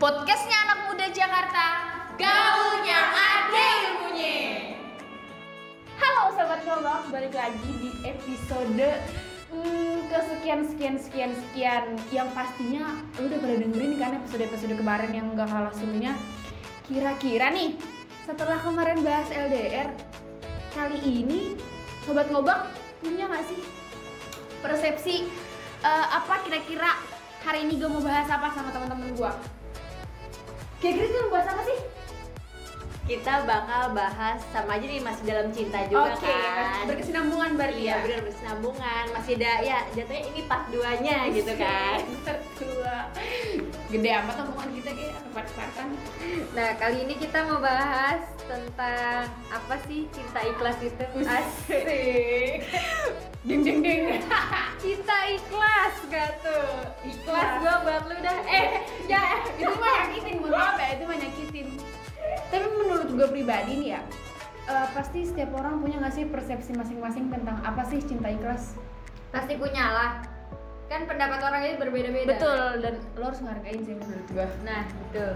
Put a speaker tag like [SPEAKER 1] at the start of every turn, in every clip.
[SPEAKER 1] Podcastnya anak muda Jakarta, gaulnya ada ilmunya.
[SPEAKER 2] Halo sobat Sherlock, balik lagi di episode hmm, kesekian sekian sekian sekian yang pastinya lu udah pada dengerin kan episode episode kemarin yang gak kalah serunya. Kira-kira nih setelah kemarin bahas LDR kali ini sobat ngobak punya nggak sih persepsi eh, apa kira-kira hari ini gue mau bahas apa sama teman-teman gua? Kira-kira kita mau bahas apa sih?
[SPEAKER 3] kita bakal bahas sama aja nih masih dalam cinta juga
[SPEAKER 2] Oke,
[SPEAKER 3] kan
[SPEAKER 2] berkesinambungan berarti ya.
[SPEAKER 3] iya benar bersenambungan masih ada ya jatuhnya ini part duanya gitu
[SPEAKER 4] Iya.
[SPEAKER 3] kan
[SPEAKER 2] tertua gede amat omongan kita kayak empat empatan
[SPEAKER 4] Nah, kali ini kita mau bahas tentang apa sih cinta ikhlas itu?
[SPEAKER 2] asik ding ding ding
[SPEAKER 4] Ah, cinta ikhlas gak tuh? Ikhlas gua buat lu dah. Eh,
[SPEAKER 2] ya itu mah nyakitin mohon maaf ya itu mah nyakitin tapi menurut gue pribadi nih ya eh, pasti setiap orang punya nggak sih persepsi masing-masing tentang apa sih cinta ikhlas
[SPEAKER 4] pasti punya lah. Kan pendapat orang ini berbeda-beda.
[SPEAKER 2] dan lo harus ngehargain sih menurut gue
[SPEAKER 4] Nah, betul.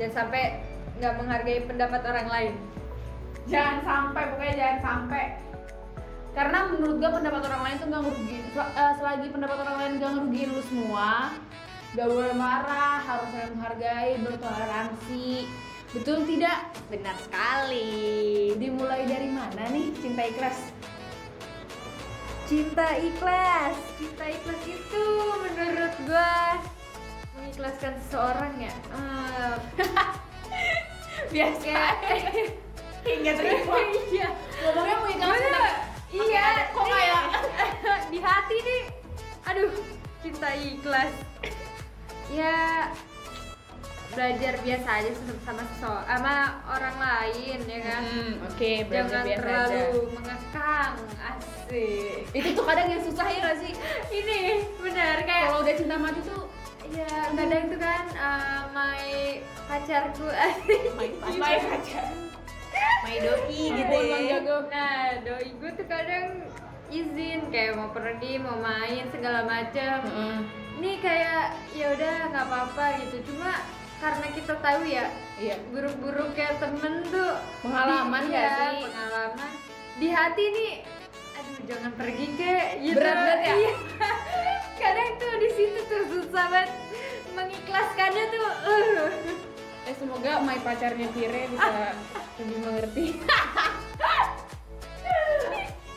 [SPEAKER 4] Dan sampai nggak menghargai pendapat orang lain.
[SPEAKER 2] jangan sampai pokoknya jangan sampai karena menurut gua pendapat orang lain tuh gak ngerugiin Sel- eh, selagi pendapat orang lain gak ngerugiin lu semua gak boleh marah harus saling menghargai bertoleransi betul tidak
[SPEAKER 3] benar sekali
[SPEAKER 2] dimulai dari mana nih cinta ikhlas
[SPEAKER 4] Cinta ikhlas. Cinta ikhlas itu menurut gua mengikhlaskan seseorang ya. Eh, ya, iya.
[SPEAKER 2] biasa
[SPEAKER 4] kayak
[SPEAKER 3] hingga terima
[SPEAKER 4] iya.
[SPEAKER 2] ngomongnya mau ikhlas
[SPEAKER 4] Bener.
[SPEAKER 2] tetap.
[SPEAKER 4] Iya,
[SPEAKER 2] kok kayak
[SPEAKER 4] di hati nih aduh cinta ikhlas ya belajar biasa aja se- sama seso- sama orang lain ya kan
[SPEAKER 2] Hmm, oke berarti
[SPEAKER 4] jangan
[SPEAKER 2] biasa aja
[SPEAKER 4] terlalu mengekang asik
[SPEAKER 2] itu tuh kadang yang susah ya gak sih
[SPEAKER 4] ini benar kayak
[SPEAKER 2] kalau udah cinta mati tuh
[SPEAKER 4] ya kadang tuh kan eh, my pacarku eh, asik
[SPEAKER 3] my my doi
[SPEAKER 2] Iya,
[SPEAKER 3] gitu ya
[SPEAKER 4] Nah, doi gue tuh kadang izin kayak mau pergi, mau main segala macam.
[SPEAKER 2] Heeh.
[SPEAKER 4] Nih kayak ya udah nggak apa-apa gitu. Cuma karena kita tahu ya
[SPEAKER 2] iya
[SPEAKER 4] buruk-buruknya temen tuh
[SPEAKER 2] Pengalaman
[SPEAKER 4] di-
[SPEAKER 2] nggak
[SPEAKER 4] iya,
[SPEAKER 2] sih?
[SPEAKER 4] Pengalaman di hati nih aduh jangan pergi ke gitu.
[SPEAKER 2] Berat banget ya?
[SPEAKER 4] Iya. kadang tuh di situ tuh susah banget mengikhlaskannya tuh. Uh.
[SPEAKER 2] Eh semoga my pacarnya Kire bisa lebih mengerti.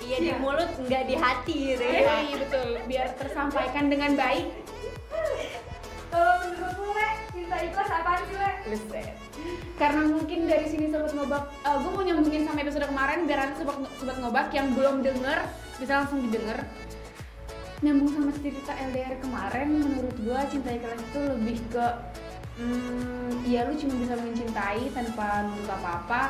[SPEAKER 3] iya di mulut nggak di hati gitu
[SPEAKER 2] Iya
[SPEAKER 3] ya
[SPEAKER 2] iya, betul. Biar tersampaikan dengan baik.
[SPEAKER 4] Kalau menurut lu, Le, cinta ikhlas apaan sih, Le?
[SPEAKER 2] Karena mungkin dari sini sobat ngobak, eh, gue mau nyambungin sama episode kemarin biar nanti sobat, sobat ngobak yang belum denger bisa langsung didengar. Nyambung sama cerita LDR kemarin, menurut gue cinta ikhlas itu lebih ke hmm, ya lu cuma bisa mencintai tanpa menuntut apa-apa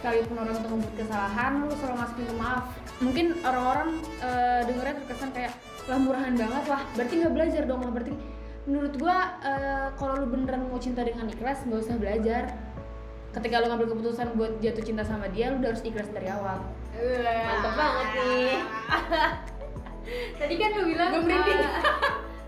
[SPEAKER 2] sekalipun orang itu membuat kesalahan lu selalu ngasih pintu maaf mungkin orang-orang eh, dengernya terkesan kayak lah murahan banget lah berarti nggak belajar dong lah berarti menurut gua eh, kalau lu beneran mau cinta dengan ikhlas nggak usah belajar ketika lu ngambil keputusan buat jatuh cinta sama dia lu udah harus ikhlas dari awal
[SPEAKER 3] mantep banget nih
[SPEAKER 4] Tadi kan lu bilang
[SPEAKER 2] Gua merinding.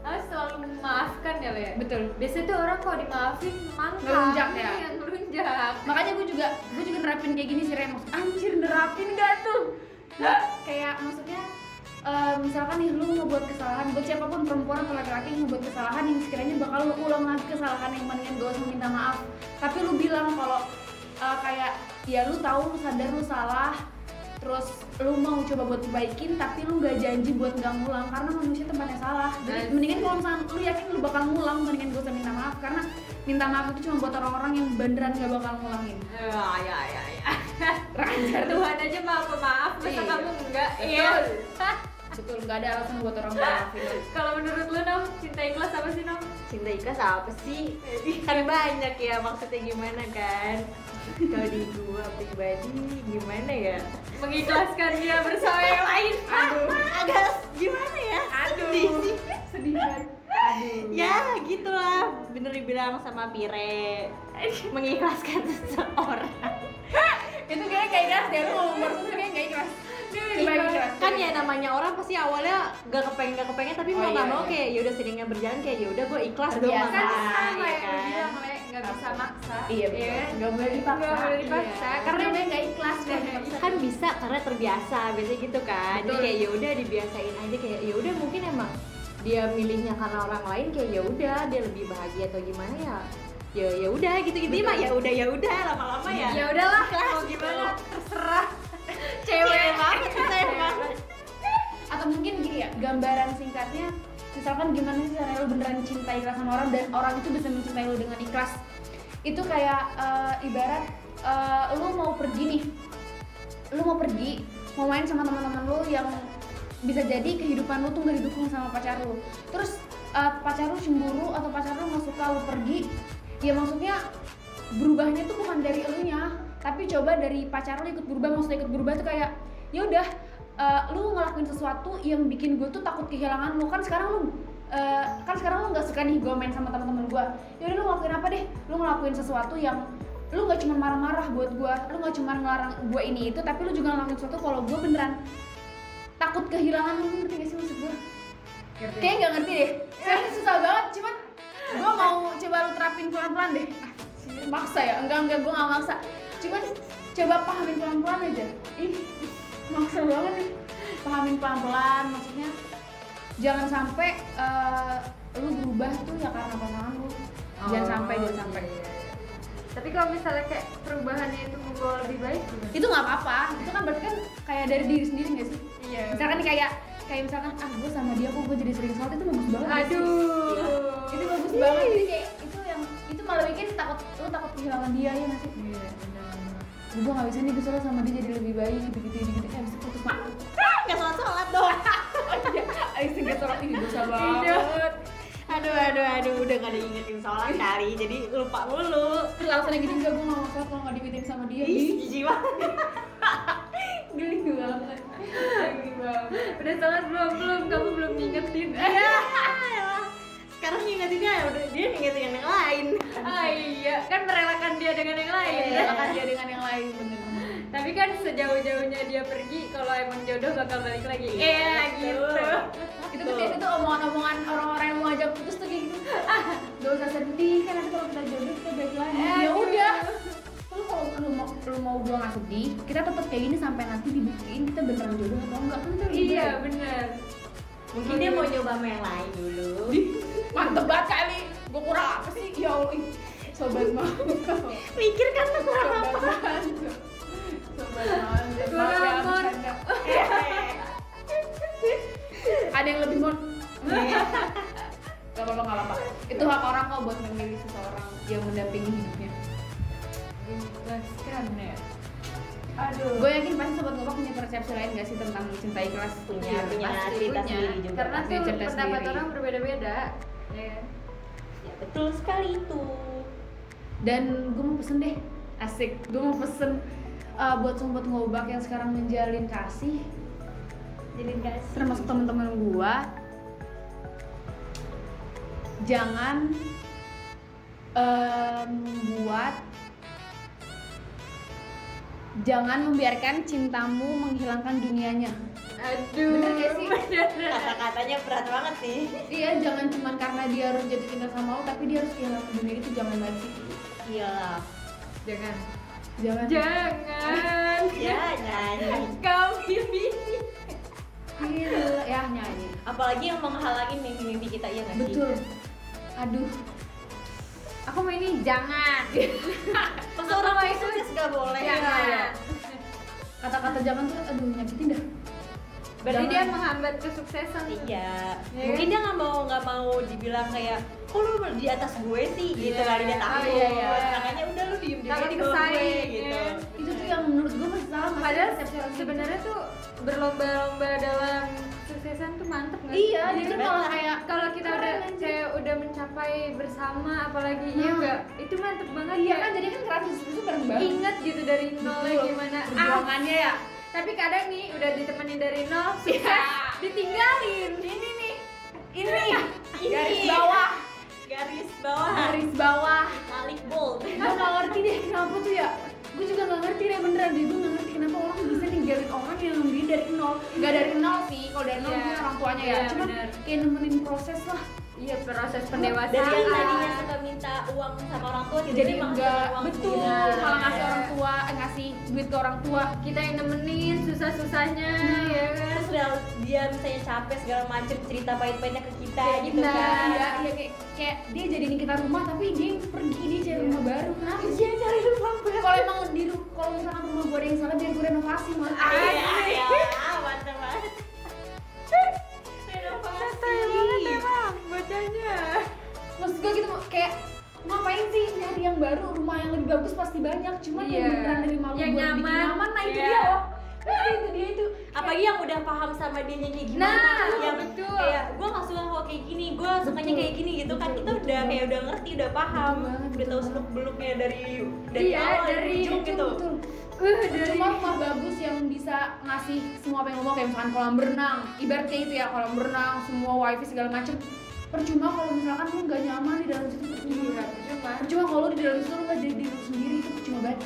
[SPEAKER 4] ah, ah, selalu memaafkan ya, Le.
[SPEAKER 2] betul
[SPEAKER 4] Biasanya tuh orang kalau dimaafin mangkak.
[SPEAKER 2] Ngelunjak ya?
[SPEAKER 4] Iya, ngelunjak.
[SPEAKER 2] makanya gue juga gue juga nerapin kayak gini sih Remus anjir nerapin gak tuh kayak maksudnya eh, misalkan nih lu ngebuat kesalahan buat siapapun perempuan atau laki-laki yang ngebuat kesalahan yang sekiranya bakal lu ulang lagi kesalahan yang mendingan gak usah minta maaf tapi lu bilang kalau eh, kayak ya lu tahu lu sadar lu salah terus lu mau coba buat perbaikin tapi lu nggak janji buat nggak ngulang karena manusia tempatnya salah jadi
[SPEAKER 4] Nice.
[SPEAKER 2] mendingan kalau misalkan lu yakin lu bakal ngulang mendingan gak usah minta maaf karena minta maaf itu cuma buat orang-orang yang beneran gak bakal ngulangin
[SPEAKER 3] ya ya ya ya
[SPEAKER 2] Rancar tuh
[SPEAKER 4] Tuhan aja maaf pemaaf, masa
[SPEAKER 2] Iya.
[SPEAKER 4] kamu enggak?
[SPEAKER 2] Betul. betul nggak ada alasan buat orang maafin lu.
[SPEAKER 4] kalau menurut lu, Nom, cinta ikhlas apa sih, Nom? Iya.
[SPEAKER 3] cinta ikhlas apa sih kan banyak ya maksudnya gimana kan kalau di gua pribadi gimana ya
[SPEAKER 4] Mengikhlaskan dia bersama yang lain.
[SPEAKER 3] aduh Ah, agak gimana ya aduh sih
[SPEAKER 2] sedih kan? banget
[SPEAKER 3] ya gitulah bener dibilang sama Pire mengikhlaskan seseorang
[SPEAKER 2] itu kayak kayak ikhlas deh lu ngomong barusan tuh kayak nggak ikhlas Tiba-tiba ikhlas.
[SPEAKER 3] kan ya namanya orang pasti awalnya gak kepengen gak kepengen tapi
[SPEAKER 2] Oh,
[SPEAKER 3] mau nggak
[SPEAKER 2] iya,
[SPEAKER 3] mau
[SPEAKER 2] iya.
[SPEAKER 3] kayak ya udah seringnya berjalan kayak ya udah gue ikhlas gue
[SPEAKER 2] Terbiasa.
[SPEAKER 3] mama
[SPEAKER 4] Kan sama
[SPEAKER 3] ya
[SPEAKER 4] yang lu
[SPEAKER 3] kan
[SPEAKER 4] bilang, Le.
[SPEAKER 3] maksa-maksa
[SPEAKER 2] Iya,
[SPEAKER 3] ya
[SPEAKER 2] betul.
[SPEAKER 3] kan?
[SPEAKER 2] Nggak boleh dipaksa.
[SPEAKER 3] Nggak boleh dipaksa Kan
[SPEAKER 4] Iya.
[SPEAKER 3] karena
[SPEAKER 4] Namanya
[SPEAKER 3] nggak ikhlas
[SPEAKER 4] Nah, kan bisa karena terbiasa biasanya gitu kan jadi
[SPEAKER 3] Betul.
[SPEAKER 4] kayak ya udah dibiasain aja kayak ya udah mungkin emang dia milihnya karena orang lain kayak ya udah dia lebih bahagia atau gimana ya ya ya udah gitu gitu mah ya udah ya udah lama-lama ya
[SPEAKER 3] ya udahlah
[SPEAKER 4] Ikhlas,
[SPEAKER 3] mau gimana
[SPEAKER 4] ikhlas.
[SPEAKER 3] terserah Iya.
[SPEAKER 4] cewek banget kita ya, emang
[SPEAKER 2] atau mungkin gini ya gambaran singkatnya misalkan gimana sih caranya lo beneran cinta ikhlas sama orang dan orang itu bisa mencintai lo dengan ikhlas itu kayak eh, ibarat eh, lo mau pergi nih lo mau pergi mau main sama teman-teman lo yang bisa jadi kehidupan lo tuh gak didukung sama pacar lo terus eh, pacar lo cemburu atau pacar lo nggak suka lo pergi ya maksudnya berubahnya tuh bukan dari elunya tapi coba dari pacar lo ikut berubah maksudnya ikut berubah tuh kayak ya udah eh, lu ngelakuin sesuatu yang bikin gue tuh takut kehilangan lu kan sekarang lu eh, kan sekarang lu nggak suka nih gue main sama teman-teman gue ya udah lu ngelakuin apa deh lu ngelakuin sesuatu yang lu nggak cuma marah-marah buat gue lu nggak cuma ngelarang gue ini itu tapi lu juga ngelakuin sesuatu kalau gue beneran takut kehilangan lu ngerti gak sih maksud gue kayaknya nggak ngerti deh Soalnya susah banget cuman gue mau coba lu terapin pelan-pelan deh Ah, sih, maksa ya enggak enggak gue nggak maksa cuman coba pahamin pelan-pelan aja ih maksa banget nih pahamin pelan-pelan maksudnya jangan sampai eh, lu berubah tuh ya karena pasangan lu
[SPEAKER 4] Oh,
[SPEAKER 2] jangan sampai jangan sampai
[SPEAKER 3] Oh, iya. tapi kalau misalnya kayak perubahannya itu membawa lebih baik gimana?
[SPEAKER 2] itu nggak apa-apa itu kan berarti kan kayak dari diri sendiri nggak sih
[SPEAKER 3] iya
[SPEAKER 2] misalkan nih kayak kayak misalkan ah gue sama dia kok gue jadi sering sholat itu bagus banget nggak sih?
[SPEAKER 3] aduh
[SPEAKER 2] itu bagus banget sih kayak itu yang itu malah bikin takut lu takut kehilangan dia ya nggak sih
[SPEAKER 3] Iya, benar-benar.
[SPEAKER 2] gue gak bisa nih gue sholat sama dia jadi lebih baik gitu gitu gitu gitu eh abis itu putus mak
[SPEAKER 4] Ah, nggak sholat sholat dong
[SPEAKER 2] abis itu gak sholat ini dosa
[SPEAKER 3] Iya.
[SPEAKER 2] banget
[SPEAKER 4] aduh aduh aduh udah gak diingetin sholat kali jadi lupa mulu
[SPEAKER 2] terus alasannya gini enggak gue gak mau sholat kalau gak diingetin sama dia
[SPEAKER 4] Ih, jijik banget
[SPEAKER 2] geli banget
[SPEAKER 3] Lagi banget. Udah sholat belum? Belum, kamu belum ngingetin
[SPEAKER 2] Iya.
[SPEAKER 4] Ayolah. Ya, sekarang ngingetinnya ya, udah dia ngingetin yang lain
[SPEAKER 3] Ah iya, kan merelakan dia dengan yang lain
[SPEAKER 2] akan dia dengan yang lain bener
[SPEAKER 3] Tapi kan sejauh-jauhnya dia pergi, kalau emang jodoh bakal balik lagi Iya, gitu
[SPEAKER 2] itu tuh biasanya tuh omongan-omongan orang-orang yang mau ajak putus tuh kayak gitu ah gak usah sedih kan nanti kalau kita jodoh kita baik lagi
[SPEAKER 3] Eh,
[SPEAKER 2] ya
[SPEAKER 3] aduh.
[SPEAKER 2] udah lu kalau lu mau lu mau gue gak sedih kita tetap kayak gini sampai nanti dibuktiin kita beneran jodoh atau enggak kan itu lebih
[SPEAKER 3] Iya,
[SPEAKER 2] baik.
[SPEAKER 3] bener
[SPEAKER 4] mungkin dia mau nyoba sama yang lain dulu
[SPEAKER 2] mantep banget kali gue kurang apa sih ya allah ih, sobat mau
[SPEAKER 4] mikir kan lu kurang apa
[SPEAKER 2] sobat manja. sobat manja.
[SPEAKER 3] Kurang
[SPEAKER 2] Maaf ya,
[SPEAKER 3] amor.
[SPEAKER 2] bercanda.
[SPEAKER 4] Ya,
[SPEAKER 2] ada yang lebih mon
[SPEAKER 4] Iya.
[SPEAKER 2] Gak apa-apa, gak apa-apa Itu hak orang kok buat memilih seseorang yang mendampingi hidupnya
[SPEAKER 3] Jelaskan ya
[SPEAKER 2] Aduh Gue yakin pasti sobat ngobak punya persepsi lain gak sih tentang Iya, cinta ikhlas
[SPEAKER 4] punya punya
[SPEAKER 3] Pasti
[SPEAKER 4] cerita
[SPEAKER 3] punya.
[SPEAKER 4] sendiri juga
[SPEAKER 3] Karena
[SPEAKER 2] Pasti
[SPEAKER 3] tuh
[SPEAKER 2] cerdas
[SPEAKER 3] pendapat
[SPEAKER 2] sendiri.
[SPEAKER 3] orang berbeda-beda ya kan?
[SPEAKER 4] ya betul sekali itu
[SPEAKER 2] Dan gue mau pesen deh Asik, gue mau pesen uh, buat sobat ngobak yang sekarang menjalin kasih
[SPEAKER 3] Jadi kasih
[SPEAKER 2] termasuk teman-teman gua jangan eh, membuat jangan membiarkan cintamu menghilangkan dunianya
[SPEAKER 3] Aduh
[SPEAKER 2] Bener gak sih?
[SPEAKER 3] Bener.
[SPEAKER 4] kata-katanya berat banget sih
[SPEAKER 2] iya jangan cuman karena dia harus jadi cinta sama lo tapi dia harus kehilangan dunia itu jangan lagi
[SPEAKER 4] iyalah
[SPEAKER 3] Jangan
[SPEAKER 2] jangan
[SPEAKER 3] Jangan
[SPEAKER 4] ya nyanyi
[SPEAKER 3] Kau pilih
[SPEAKER 2] Gila, ya nyanyi
[SPEAKER 4] apalagi yang menghalangi mimpi-mimpi kita ya nggak sih
[SPEAKER 2] betul aduh
[SPEAKER 3] Aku mau ini jangan
[SPEAKER 4] pas orang lain sukses nggak boleh
[SPEAKER 3] Jangan
[SPEAKER 2] kata-kata jangan tuh aduh nyakitin dah
[SPEAKER 3] Berarti dia
[SPEAKER 2] Jangan.
[SPEAKER 3] menghambat kesuksesan
[SPEAKER 4] iya
[SPEAKER 3] Iya
[SPEAKER 4] mungkin dia nggak mau nggak mau dibilang kayak kok lu di atas gue sih gitu
[SPEAKER 3] Iya.
[SPEAKER 4] kali dia takut
[SPEAKER 3] Oh, iya, iya.
[SPEAKER 4] makanya udah lu diem diem
[SPEAKER 3] Takut
[SPEAKER 4] di bawah gue
[SPEAKER 3] kesaing,
[SPEAKER 4] gitu
[SPEAKER 3] iya.
[SPEAKER 2] itu tuh yang menurut gue masih salah masih
[SPEAKER 3] Padahal
[SPEAKER 2] persepsi orang gitu.
[SPEAKER 3] sebenarnya tuh berlomba-lomba dalam suksesan tuh mantep nggak sih?
[SPEAKER 2] iya
[SPEAKER 3] Jadi
[SPEAKER 2] justru
[SPEAKER 3] kalau-
[SPEAKER 2] malah kayak
[SPEAKER 3] kalau kita
[SPEAKER 2] Keren
[SPEAKER 3] udah
[SPEAKER 2] anjir.
[SPEAKER 3] kayak udah mencapai bersama apalagi
[SPEAKER 2] Nah.
[SPEAKER 3] ya enggak itu mantep banget
[SPEAKER 2] Iya
[SPEAKER 3] ya
[SPEAKER 2] kan jadi kan kerasa itu bareng bareng.
[SPEAKER 3] inget gitu dari nolnya
[SPEAKER 2] Betul.
[SPEAKER 3] gimana ah
[SPEAKER 2] Perjuangannya ya.
[SPEAKER 3] tapi kadang nih udah ditemenin dari nol sukses
[SPEAKER 4] Nah,
[SPEAKER 3] ditinggalin ini nih ini
[SPEAKER 2] Garis bawah,
[SPEAKER 4] garis bawah
[SPEAKER 2] garis bawah.
[SPEAKER 4] kalik bold
[SPEAKER 2] Gue gak ngerti deh kenapa tuh ya. Gue juga gak ngerti deh beneran deh. Gue gak ngerti kenapa orang bisa ninggalin orang yang dia dari nol. Gak dari nol sih, kalau dari nol
[SPEAKER 3] Iya.
[SPEAKER 2] mungkin orang tuanya ya.
[SPEAKER 3] Iya,
[SPEAKER 2] Cuman
[SPEAKER 3] bener.
[SPEAKER 2] kayak nemenin proses lah.
[SPEAKER 3] iya proses
[SPEAKER 4] dari yang
[SPEAKER 3] pendewasaan
[SPEAKER 4] tadinya suka minta uang sama orang tua tiba-tiba
[SPEAKER 2] jadi
[SPEAKER 4] emang
[SPEAKER 2] enggak
[SPEAKER 4] uang
[SPEAKER 2] betul
[SPEAKER 4] sendiri.
[SPEAKER 2] malah ngasih orang tua eh, ngasih duit ke orang tua
[SPEAKER 3] kita yang nemenin susah-susahnya ya kan
[SPEAKER 4] terus udah dia misalnya capek segala macem cerita pahit-pahitnya ke kita gitu
[SPEAKER 2] nah
[SPEAKER 4] kan
[SPEAKER 2] iya iya kayak, kayak dia jadiin kita rumah tapi dia yang pergi dia cari rumah baru kenapa sih
[SPEAKER 4] Iya. dia cari rumah baru
[SPEAKER 2] kalau emang di ru- kalau misalkan rumah gue ada yang salah biar gue renovasi mah
[SPEAKER 4] Iya, iya, mantap banget renovasi
[SPEAKER 3] Iya. emang bocahnya
[SPEAKER 2] maksud gue gitu kayak ngapain sih nyari yang baru rumah yang lebih bagus pasti banyak cuman
[SPEAKER 3] Iya.
[SPEAKER 2] yang beneran dari malu
[SPEAKER 3] Yang
[SPEAKER 2] buat bikin
[SPEAKER 3] nyaman.
[SPEAKER 2] nyaman nah itu
[SPEAKER 3] Iya.
[SPEAKER 2] dia loh Nah, itu dia itu
[SPEAKER 4] apalagi yang udah paham sama dianya kayak gimana
[SPEAKER 3] Nah,
[SPEAKER 4] yang
[SPEAKER 3] betul.
[SPEAKER 4] kayak gue nggak suka kalau kayak gini gue sukanya
[SPEAKER 2] Betul.
[SPEAKER 4] kayak gini gitu kan kita udah kayak udah ngerti udah paham
[SPEAKER 2] Betul banget,
[SPEAKER 4] udah
[SPEAKER 2] betul
[SPEAKER 4] tahu
[SPEAKER 2] banget.
[SPEAKER 4] seluk beluknya dari dari
[SPEAKER 3] Iya,
[SPEAKER 4] awal dari
[SPEAKER 3] dari-
[SPEAKER 4] ujung gitu
[SPEAKER 2] betul.
[SPEAKER 3] uh dari
[SPEAKER 2] cuma rumah bagus yang bisa ngasih semua apa yang lo mau kayak misalkan kolam berenang ibaratnya itu ya kolam berenang semua wifi segala macem percuma kalau misalkan lu nggak nyaman di dalam situ percuma percuma kalau lu di dalam situ lu nggak jadi diri lu sendiri itu percuma banget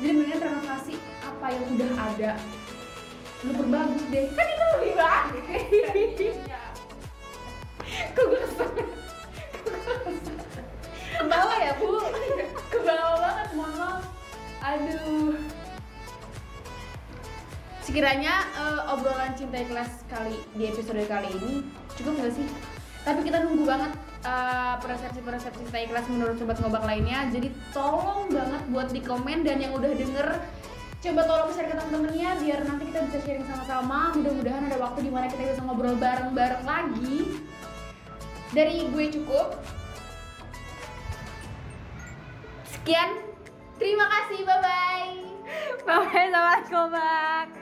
[SPEAKER 2] jadi mendingan renovasi apa yang udah ada lu perbagus deh kan itu lebih baik kok gue kesel ke bawah ya bu ke bawah banget mohon maaf aduh sekiranya eh, obrolan cinta ikhlas kali di episode kali ini cukup nggak sih tapi kita nunggu banget persepsi persepsi cinta ikhlas menurut sobat ngobak lainnya jadi tolong banget buat di komen dan yang udah denger coba tolong share ke temen-temennya biar nanti kita bisa sharing sama-sama mudah-mudahan ada waktu di mana kita bisa ngobrol bareng-bareng lagi dari gue cukup sekian terima kasih bye bye
[SPEAKER 3] Bye, Assalamualaikum, Bang.